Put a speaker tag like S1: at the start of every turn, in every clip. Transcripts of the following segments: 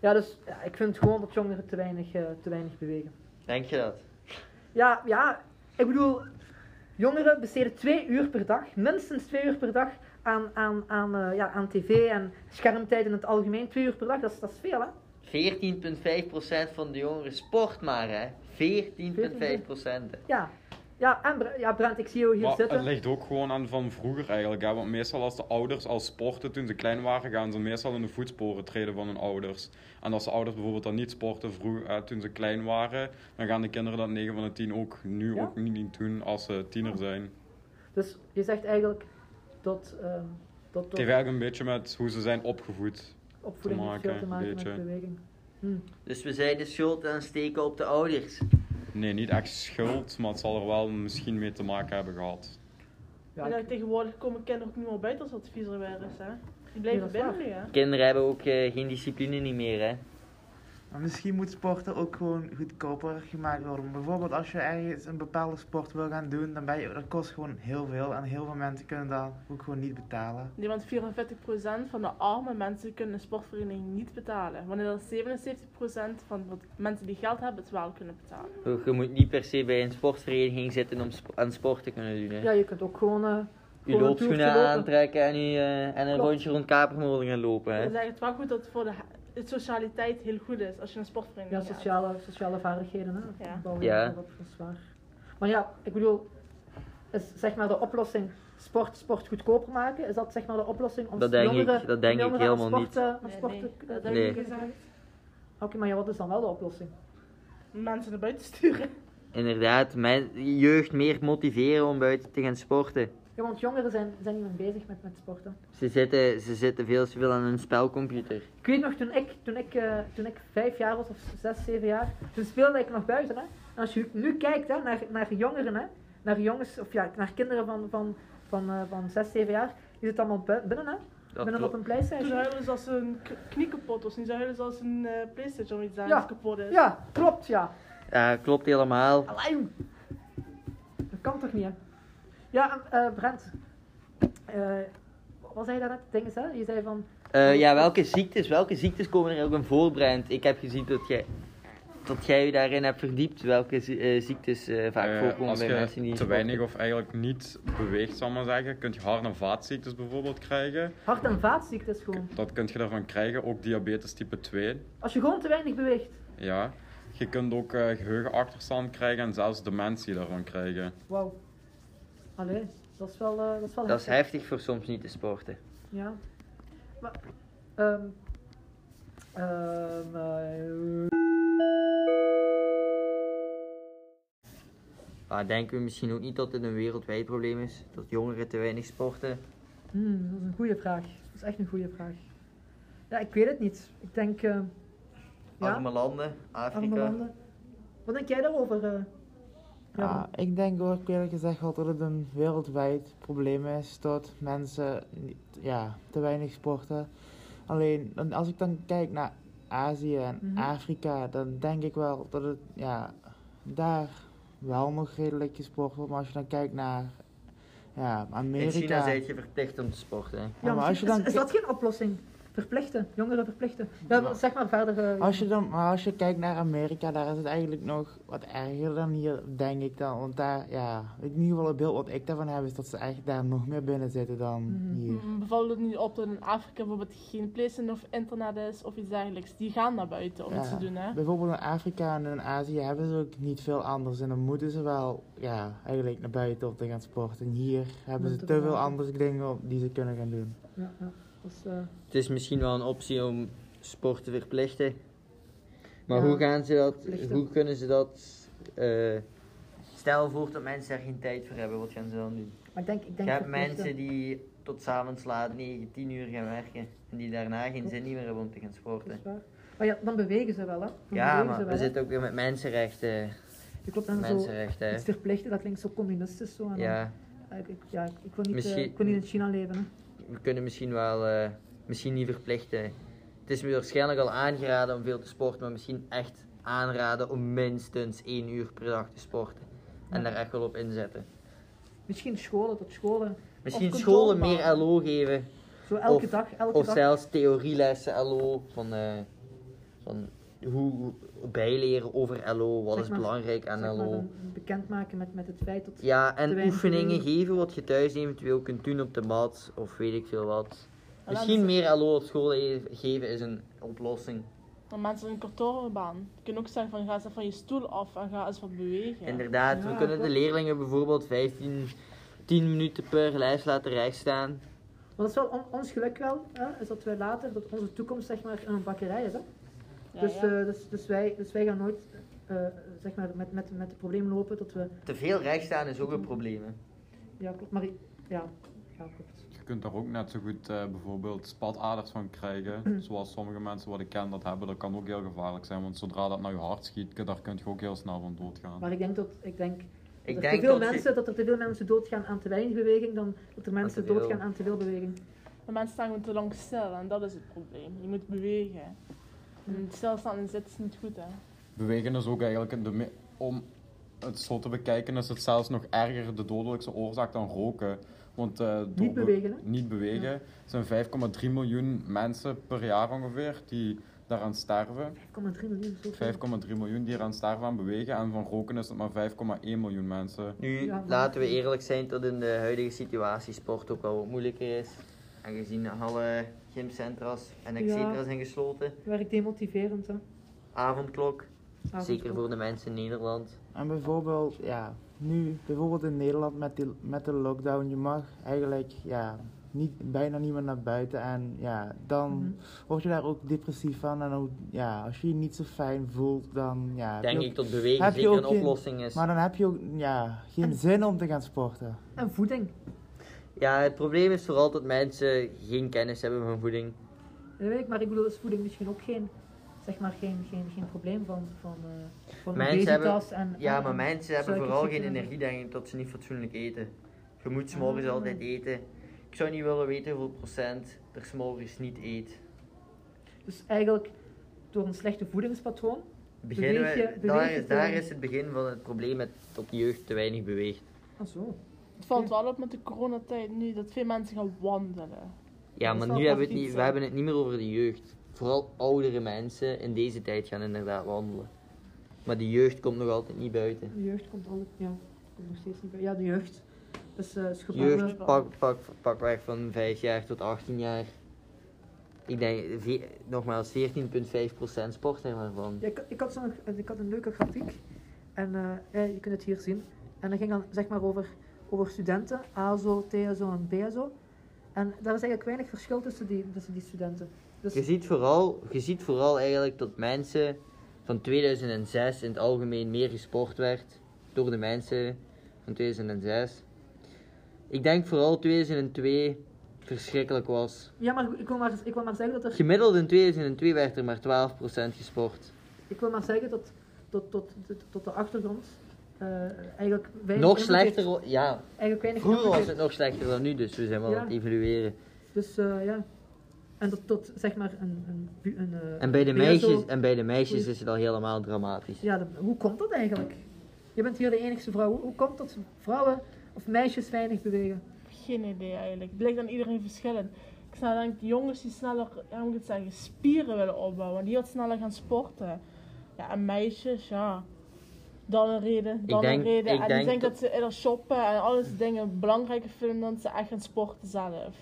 S1: Ja, dus ja, ik vind gewoon dat jongeren te weinig, eh, te weinig bewegen.
S2: Denk je dat?
S1: Ja, ja, ik bedoel, jongeren besteden twee uur per dag, minstens twee uur per dag, aan, aan, aan, eh, ja, aan tv en schermtijd in het algemeen. Twee uur per dag, dat is, dat is veel, hè?
S2: 14,5% van de jongeren sport maar, hè? 14,5%.
S1: Ja. Ja, en Bre- ja, Brent, ik zie jou hier
S3: Maar
S1: zitten.
S3: het ligt ook gewoon aan van vroeger eigenlijk. Hè? Want meestal als de ouders al sporten toen ze klein waren, gaan ze meestal in de voetsporen treden van hun ouders. En als de ouders bijvoorbeeld dan niet sporten vroeg, eh, toen ze klein waren, dan gaan de kinderen dat 9 van de 10 ook nu
S1: Ja? Ah,
S3: ook niet doen als ze tiener zijn.
S1: Dus je zegt eigenlijk dat, ehm dat,
S3: Het
S1: dat
S3: heeft eigenlijk een beetje met hoe ze zijn opgevoed.
S1: opvoeding
S3: te
S1: niet veel te
S3: maken,
S1: maken
S3: beetje.
S1: met beweging. Hm.
S2: Dus we zijn de schuld aan het steken op de ouders.
S3: Nee, niet echt schuld, maar het zal er wel misschien mee te maken hebben gehad.
S1: Ja,
S4: en
S1: ik-
S4: dan tegenwoordig komen kinderen ook niet meer buiten als dat viezer weer is, hè. Die
S1: Ja,
S4: blijven
S1: dat is
S4: binnen
S1: waar.
S4: nu, hè.
S2: Kinderen hebben ook eh, geen discipline niet meer, hè?
S5: Maar misschien moet sporten ook gewoon goedkoper gemaakt worden. Bijvoorbeeld als je ergens een bepaalde sport wil gaan doen, dan ben je, dat kost gewoon heel veel. En heel veel mensen kunnen dat ook gewoon niet betalen.
S4: Nee, want 44% van de arme mensen kunnen een sportvereniging niet betalen. Wanneer dan 77% van wat mensen die geld hebben het wel kunnen betalen.
S2: Je je moet niet per se bij een sportvereniging zitten om sp- aan sport te kunnen doen, hè?
S1: ja, je kunt ook gewoon... eh
S2: je
S1: gewoon een toertje
S2: loopschoenen
S1: lopen.
S2: aantrekken en, je, eh, en een
S1: Klopt.
S2: rondje rond Kapermolen gaan lopen,
S4: Dat
S2: hè?
S4: is eigenlijk wel goed dat het voor de he- het socialiteit heel goed is als je naar een
S1: Ja,
S4: sportvereniging gaat.
S1: sociale, sociale vaardigheden, hè?
S4: Ja.
S1: Bouwen,
S2: Ja.
S1: Dat is waar. Maar ja, ik bedoel, is zeg maar de oplossing sport, sport goedkoper maken? Is dat zeg maar de oplossing om
S2: Dat denk ik-
S1: jongeren,
S2: dat denk ik
S1: jongeren aan
S2: helemaal niet.
S1: sport, eh, aan
S4: Nee,
S1: sport
S4: nee,
S1: te-
S4: dat
S1: te-
S4: heb
S2: Nee.
S4: ik niet gezegd.
S1: Oké, maar ja, wat is dan wel de oplossing?
S4: Mensen naar buiten sturen.
S2: Inderdaad, men, jeugd meer motiveren om buiten te gaan sporten.
S1: Ja, want jongeren zijn, zijn niet meer bezig met, met sporten.
S2: Ze zitten, ze zitten veel te veel aan hun spelcomputer.
S1: Ik weet nog, toen ik, toen, ik, eh, toen ik vijf jaar was, of zes, zeven jaar, toen speelde ik nog buiten. Hè? En als je nu kijkt hè, naar, naar jongeren, hè, naar jongens, of ja, naar kinderen van, van, van, eh, van zes, zeven jaar, die zitten allemaal bu- binnen, hè? binnen op een
S4: Toen
S1: PlayStation.
S4: huilen ze als een k- knie kapot was. Nu ze huilen ze als een eh, Playstation of iets aan
S1: Ja.
S4: ja. kapot is.
S1: Ja, klopt, ja.
S2: Ja, klopt helemaal.
S1: Alleen. Dat kan toch niet, hè? Ja, en, eh, Brent. Eh, wat zei je daarnet? Ding is, hè? Je zei van...
S2: Eh, ja, welke ziektes, welke ziektes komen er ook in voor, Brent? Ik heb gezien dat jij, dat jij je daarin hebt verdiept. Welke zie- eh, ziektes eh, vaak
S3: Eh,
S2: voorkomen
S3: als
S2: bij
S3: je
S2: mensen die
S3: te
S2: sporten.
S3: weinig of eigenlijk niet beweegt, zal ik maar zeggen, kun je hart- en vaatziektes bijvoorbeeld krijgen.
S1: Hart- en vaatziektes gewoon.
S3: Dat kun je daarvan krijgen, ook diabetes type 2.
S1: Als je gewoon te weinig beweegt.
S3: Ja. Je kunt ook eh, geheugenachterstand krijgen en zelfs dementie daarvan krijgen.
S1: Wauw. Allee, dat is wel... eh dat is wel
S2: Dat is heftig voor soms niet te sporten.
S1: Ja. Maar... ehm ehm, eh,
S2: Maar denken we misschien ook niet dat dit een wereldwijd probleem is? Dat jongeren te weinig sporten?
S1: hmm, dat is een goede vraag. Dat is echt een goede vraag. Ja, ik weet het niet. Ik denk... eh, ja,
S2: Arme landen, Afrika.
S1: arme landen. Wat denk jij daarover? eh?
S2: Ah,
S1: Jelle?
S5: Ja, Ah, ik denk ook eerlijk gezegd wel dat het een wereldwijd probleem is dat mensen niet- ja, te weinig sporten. Alleen dan- als ik dan kijk naar Azië en
S1: Mhm.
S5: Afrika, dan denk ik wel dat het ja, daar wel nog redelijk gesport wordt. Maar als je dan kijkt naar ja,
S2: In
S5: Amerika.
S2: China ben je verplicht om te sporten. hè.
S5: Ja, maar als je
S1: misschien-
S5: dan
S1: is, is dat geen oplossing? Verplichten, jongeren verplichten. Ja,
S5: Maar-
S1: zeg maar verder. eh,
S5: Als je dan, maar als je kijkt naar Amerika, daar is het eigenlijk nog wat erger dan hier, denk ik dan. Want daar, ja, in ieder geval het beeld wat ik daarvan heb, is dat ze eigenlijk daar nog meer binnen zitten dan
S1: Mhm.
S5: hier.
S4: Mm, Bevalt het nu op dat in Afrika bijvoorbeeld geen PlayStation of internet is of iets dergelijks. Die gaan naar buiten om
S5: Ja.
S4: iets te doen, hè.
S5: Bijvoorbeeld in Afrika en in Azië hebben ze ook niet veel anders. En dan moeten ze wel, ja, eigenlijk naar buiten om te gaan sporten. En hier hebben ze
S1: Moeten
S5: te
S1: we-
S5: veel andere dingen op die ze kunnen gaan doen.
S1: ja, ja, dat is, eh,
S2: Het is misschien wel een optie om sport te verplichten. Maar
S1: Ja,
S2: hoe gaan ze dat,
S1: verplichten.
S2: hoe kunnen ze dat... eh, stel voor dat mensen daar geen tijd voor hebben, wat gaan ze dan doen?
S1: maar ik denk, ik
S2: Je
S1: denk
S2: hebt
S1: verplichten.
S2: mensen die tot s'avonds laat 9, 10 uur gaan werken. En die daarna geen zin meer hebben om te gaan
S1: Dat
S2: sporten.
S1: is waar. Maar ja, dan bewegen ze wel, hè? Dan
S2: Ja,
S1: bewegen
S2: maar
S1: wel,
S2: we
S1: hè.
S2: zitten ook weer met mensenrechten.
S1: Je klopt dan zo
S2: Mensenrechten, hè.
S1: iets verplichten, dat klinkt zo communistisch zo. En dan-
S2: Ja,
S1: eh, ik, ik- ja, ik, ik wil niet, eh,
S2: Misschien-
S1: ik wil niet in China leven. Hè.
S2: we kunnen misschien wel... eh, misschien niet verplichten. Het is me waarschijnlijk al aangeraden om veel te sporten. Maar misschien echt aanraden om minstens 1 uur per dag te sporten. En
S1: Ja.
S2: daar echt wel op inzetten.
S1: Misschien scholen tot scholen.
S2: Misschien
S1: Of
S2: scholen
S1: controle
S2: meer LO geven.
S1: Zo elke
S2: Of-
S1: dag, elke
S2: Of
S1: dag.
S2: zelfs theorielessen LO. Van, eh, van hoe hoe- bijleren over LO, wat
S1: Zeg
S2: is
S1: maar-
S2: belangrijk aan
S1: Zeg maar,
S2: LO.
S1: dan bekendmaken met, met het feit dat...
S2: Ja, en
S1: te weinig
S2: oefeningen
S1: oefeningen.
S2: geven wat je thuis eventueel kunt doen op de mat of weet ik veel wat.
S4: dan
S2: Misschien
S4: is-
S2: meer LO op school e- geven is een oplossing.
S4: Maar mensen in een kantoorbaan kunnen ook zeggen van ga eens van je stoel af en ga eens wat bewegen.
S2: Inderdaad, we
S1: Ja,
S2: kunnen de
S1: klopt.
S2: leerlingen bijvoorbeeld 15, 10 minuten per lijst laten rechtstaan.
S1: Want dat is wel on- ons geluk wel, hè, is dat wij later, dat onze toekomst zeg maar in een bakkerij is. Hè?
S4: Ja,
S1: dus,
S4: ja.
S1: eh, dus, dus, wij, dus wij gaan nooit eh, zeg maar met, met, met het probleem lopen dat we...
S2: Te veel rechtstaan is ook een probleem. hè.
S1: Ja, klopt, maar... ik- Ja, ja klopt.
S3: Je kunt daar ook net zo goed eh, bijvoorbeeld spataders van krijgen. Zoals sommige mensen wat ik ken dat hebben. Dat kan ook heel gevaarlijk zijn. Want zodra dat naar je hart schiet, daar kun je ook heel snel van doodgaan.
S1: Maar ik denk dat... Ik denk,
S2: Ik
S1: dat,
S2: denk
S1: er veel
S2: dat je-
S1: mensen, dat er te veel mensen doodgaan aan te weinig beweging dan dat er mensen
S2: te veel.
S1: doodgaan aan te veel beweging.
S4: Maar mensen staan gewoon te lang stil en dat is het probleem. Je moet bewegen. En stilstaan en zitten is niet goed hè.
S3: Bewegen is ook eigenlijk, de me- om het zo te bekijken, is het zelfs nog erger de dodelijkste oorzaak dan roken. Want, eh, door
S1: Niet
S3: be-
S1: bewegen, hè?
S3: niet bewegen. Er zijn 5,3 miljoen mensen per jaar ongeveer die daaraan sterven.
S1: 5,3 miljoen, zo
S3: 5,3 miljoen die eraan sterven aan bewegen. En van roken is het maar 5,1 miljoen mensen.
S2: Nu,
S1: Ja, maar-
S2: laten we eerlijk zijn dat in de huidige situatie sport ook wel wat moeilijker is. Aangezien alle gymcentra's en et
S1: Ja.
S2: cetera zijn gesloten.
S1: Werkt demotiverend, hè.
S2: Avondklok,
S1: Avond-
S2: zeker voor de mensen in Nederland.
S5: En bijvoorbeeld, ja, nu bijvoorbeeld in Nederland met, die, met de lockdown, je mag eigenlijk ja, niet, bijna niemand naar buiten. En ja, dan
S1: Mhm.
S5: word je daar ook depressief van. En ook, ja, als je je niet zo fijn voelt, dan ja, heb je
S2: Denk
S5: ook-
S2: ik dat bewegen
S5: heb je
S2: zeker een
S5: ook geen-
S2: oplossing is.
S5: maar dan heb je ook ja, geen zin om te gaan sporten.
S1: En voeding.
S2: Ja, het probleem is vooral dat mensen geen kennis hebben van voeding.
S1: Dat weet ik, maar ik bedoel, is voeding misschien ook geen, zeg maar, geen, geen, geen probleem van, van, eh van
S2: Mensen hebben-
S1: obesitas en...
S2: Ja,
S1: en-
S2: maar mensen hebben
S1: suiker,
S2: vooral
S1: suiker.
S2: geen energie, denk ik, dat ze niet fatsoenlijk eten. Je
S1: Ah,
S2: moet s'morgens altijd eten. Ik zou niet willen weten hoeveel procent er s'morgens niet eet.
S1: Dus eigenlijk, door een slechte voedingspatroon...
S2: Beginnen
S1: Beweeg je-
S2: we,
S1: beweeg
S2: daar,
S1: je
S2: is,
S1: te
S2: daar
S1: weinig.
S2: is het begin van het probleem met dat de jeugd te weinig beweegt.
S1: Ah zo.
S4: Het valt wel op met de coronatijd nu dat veel mensen gaan wandelen.
S2: Ja,
S4: Dat
S2: maar
S4: is wel
S2: nu hebben we, het
S4: echt
S2: niet,
S4: iets,
S2: we
S4: hè?
S2: hebben het niet meer over de jeugd. Vooral oudere mensen in deze tijd gaan inderdaad wandelen. Maar de jeugd komt nog altijd niet buiten.
S1: De jeugd komt altijd... Ja, komt nog steeds niet bij. Ja, de jeugd is, eh is geboren...
S2: Jeugd pak, pak, pak weg van 5 jaar tot 18 jaar. Ik denk, ve- nogmaals, 14,5% sport zijn waarvan.
S1: Ja, ik, ik, had zo'n, ik had een leuke grafiek. En eh, ja, je kunt het hier zien. En dat ging dan zeg maar over, over studenten. ASO, TSO en BSO. En daar is eigenlijk weinig verschil tussen die, tussen die studenten. Dus
S2: Je ziet, vooral, je ziet vooral eigenlijk dat mensen van 2006 in het algemeen meer gesport werd door de mensen van 2006. Ik denk vooral 2002 verschrikkelijk was.
S1: Ja, maar ik wil maar, ik wil maar zeggen dat er.
S2: Gemiddeld in 2002 werd er maar 12% gesport.
S1: Ik wil maar zeggen dat tot, tot, tot, tot de achtergrond. eh, eigenlijk weinig
S2: Nog
S1: invloed
S2: slechter,
S1: heeft.
S2: wa- ja,
S1: Eigenlijk weinig invloed
S2: vroeger was het
S1: heeft.
S2: nog slechter dan nu, dus we zijn wel
S1: Ja.
S2: aan het evalueren.
S1: Dus eh, ja. En dat tot zeg maar een. een, bu- een, eh,
S2: En bij de
S1: BSO
S2: meisjes, en bij de meisjes
S1: Oei.
S2: is het al helemaal dramatisch.
S1: Ja, dat- hoe komt dat eigenlijk? Je bent hier de enigste vrouw. Hoe, hoe komt dat vrouwen of meisjes weinig bewegen?
S4: Geen idee eigenlijk. Het lijkt aan iedereen verschillend. Ik snap denk de jongens die sneller, ja, hoe moet ik het zeggen, spieren willen opbouwen. Die wat sneller gaan sporten. Ja, en meisjes, ja. Dan een reden, dan
S2: denk-
S4: een reden.
S2: ik
S4: en
S2: denk
S4: ik denk
S2: dat-
S4: dat ze eerder shoppen en alles dingen belangrijker vinden dan ze echt gaan sporten zelf.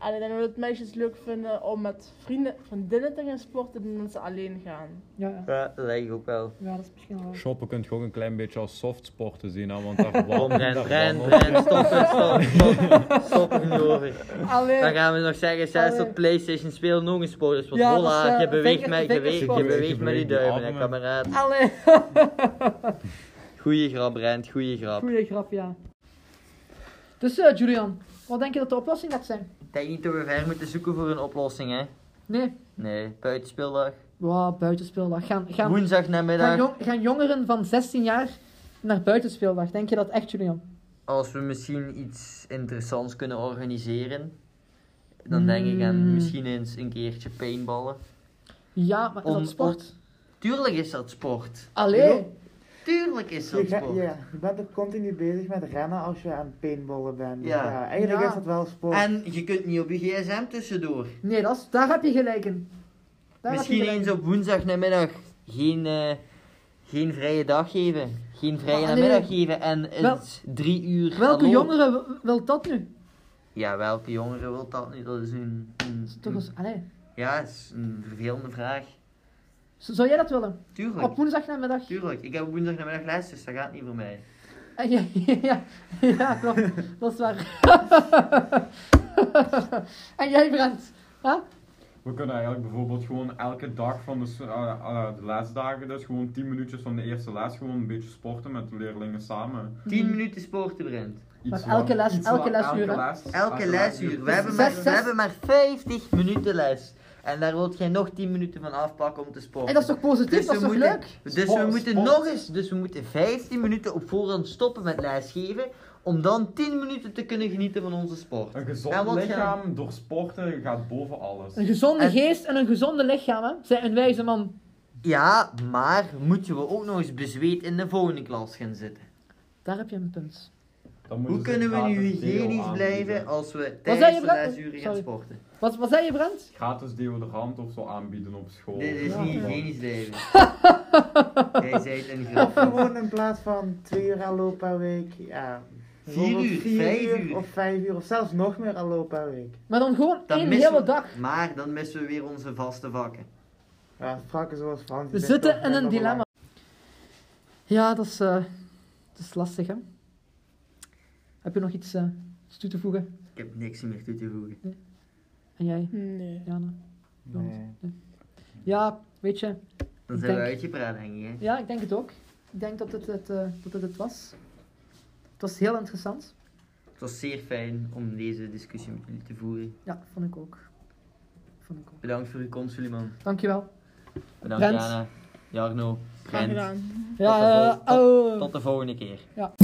S4: En ik denk dat meisjes leuk vinden om met vrienden, vriendinnen te gaan sporten dan dat ze alleen gaan.
S1: Ja, ja.
S2: Ja, dat lijkt ook wel.
S1: ja, dat is misschien wel.
S3: Shoppen kun je ook een klein beetje als softsporten zien, hè, want daar
S2: Kom, Bren,
S3: daar
S2: Bren,
S3: wandelt-
S2: Bren, stop, het, stop, stop, stop er nu over. Dan
S1: Allee.
S2: gaan we nog zeggen, zes
S1: Allee.
S2: op Playstation, speel nog eens sporters, want
S1: Ja, dat is,
S2: hola,
S1: eh,
S2: je beweegt
S1: vinger-
S2: met, je beweegt,
S1: vingersport.
S2: je beweegt met je
S3: Die
S2: duimen, hè,
S3: armen.
S2: kameraad.
S1: Allee.
S2: Goeie grap, Brent, goeie grap.
S1: Goeie grap, ja. Dus eh, Julian, wat denk je dat de oplossing gaat zijn?
S2: Ik denk niet dat we ver moeten zoeken voor een oplossing, hè.
S1: Nee.
S2: Nee, buitenspeeldag.
S1: Wow, buitenspeeldag. Gaan, gaan,
S2: Woensdag
S1: gaan,
S2: namiddag.
S1: jong- gaan jongeren van 16 jaar naar buitenspeeldag? Denk je dat echt, Julian?
S2: Als we misschien iets interessants kunnen organiseren, dan denk ik
S1: Mm.
S2: aan misschien eens een keertje paintballen.
S1: Ja, maar is
S2: Om-
S1: dat sport?
S2: Tuurlijk is dat sport.
S1: Allee.
S2: Tuurlijk is
S5: Je,
S2: dat
S5: ga-
S2: sport.
S5: ja, je bent ook continu bezig met rennen als je aan het paintballen bent. Dus
S2: Ja.
S5: ja, eigenlijk
S1: Ja.
S5: is dat wel sport.
S2: En je kunt niet op je gsm tussendoor.
S1: Nee, dat is, daar heb je gelijk in. Daar was
S2: Misschien
S1: iedereen-
S2: eens op woensdagnamiddag geen, eh, geen vrije dag geven. Geen vrije
S1: Maar, ah, nee.
S2: namiddag geven en
S1: Wel-
S2: het drie uur.
S1: Welke
S2: hallo.
S1: jongere w- wil dat nu?
S2: Ja, welke jongere wil dat nu? Dat is een. een-
S1: Dat is Toch eens, allee.
S2: Ja, is een vervelende vraag.
S1: Z- Zou jij dat willen?
S2: Tuurlijk.
S1: Op woensdag namiddag?
S2: Tuurlijk. Ik heb op woensdagnamiddag les, dus dat gaat niet voor mij.
S1: Eh, Ja, ja, ja, klopt. Dat is waar. en jij, Brent? Ja?
S3: We kunnen eigenlijk bijvoorbeeld gewoon elke dag van de, s- eh, eh, de lesdagen, dus gewoon 10 minuutjes van de eerste les, gewoon een beetje sporten met de leerlingen samen.
S2: 10
S1: Mhm.
S2: minuten sporten, Brent.
S3: Iets
S1: Maar elke
S3: lang-
S1: les-
S3: iets
S1: elke
S3: lang-
S1: lesuur, hè?
S3: les-
S2: Elke lesuur. We hebben,
S1: Zes-
S2: maar,
S1: zes-
S2: we hebben maar 50 minuten les. En daar wilt jij nog 10 minuten van afpakken om te sporten.
S1: En dat is toch positief?
S2: Dus
S1: dat is
S2: we
S1: toch
S2: moeten-
S1: leuk?
S2: Dus we
S3: Sport,
S2: moeten
S3: sport.
S2: nog eens, dus we moeten 15 minuten op voorhand stoppen met lesgeven. Om dan 10 minuten te kunnen genieten van onze sport.
S3: Een
S2: En
S3: gezond
S2: wat
S3: lichaam door sporten gaat boven alles.
S1: Een gezonde
S2: En-
S1: geest en een gezonde lichaam, hè? Zij een wijze man.
S2: Ja, maar moeten we ook nog eens bezweet in de volgende klas gaan zitten.
S1: Daar heb je een punt.
S3: Dan moeten
S2: Hoe
S3: ze
S2: kunnen we
S3: gratis
S2: nu
S3: deo
S2: hygiënisch
S3: aanbieden.
S2: blijven als we
S1: zei je,
S2: tijdens de
S1: Brad?
S2: lesuren gaan
S1: Sorry.
S2: sporten?
S1: Wat, wat zei je, Brent?
S3: Gratis deodorant of zo aanbieden op school.
S2: Dit is
S1: Ja.
S2: niet hygiënisch blijven. Jij zei het een
S5: Of
S2: grap.
S5: gewoon in plaats van twee uur ALO per week, ja.
S2: Vier
S5: bijvoorbeeld
S2: uur,
S5: vier
S2: vijf uur.
S5: Of vijf uur, of zelfs nog meer ALO per week.
S1: Maar dan gewoon
S2: Dan
S1: één
S2: missen
S1: hele
S2: we-
S1: dag.
S2: Maar dan missen we weer onze vaste vakken.
S5: Ja, vakken zoals Frans. die
S1: We
S5: zijn
S1: zitten
S5: toch
S1: in
S5: best
S1: een
S5: wel
S1: dilemma. Ja, dat is, eh, dat is lastig, hè? Heb je nog iets, eh, iets toe te voegen?
S2: Ik heb niks meer toe te voegen.
S1: En jij,
S4: Nee.
S1: Jana?
S5: belangrijk. Nee.
S1: Ja, weet je.
S2: Dan
S1: Ik
S2: zijn we
S1: denk-
S2: uitgepraat, denk ik. Hè?
S1: Ja, ik denk het ook. Ik denk dat het het, eh, dat het, het was. Het was heel interessant.
S2: Het was zeer fijn om deze discussie met jullie te voeren.
S1: Ja, vond ik ook. Vond ik ook.
S2: Bedankt voor uw komst, Suleiman.
S1: Dankjewel.
S2: Bedankt,
S1: Brent.
S2: Jana. Jarno.
S4: Graag
S2: Brent.
S4: gedaan.
S2: de vol-
S1: Ja, eh, oh.
S2: Tot de volgende keer.
S1: Ja.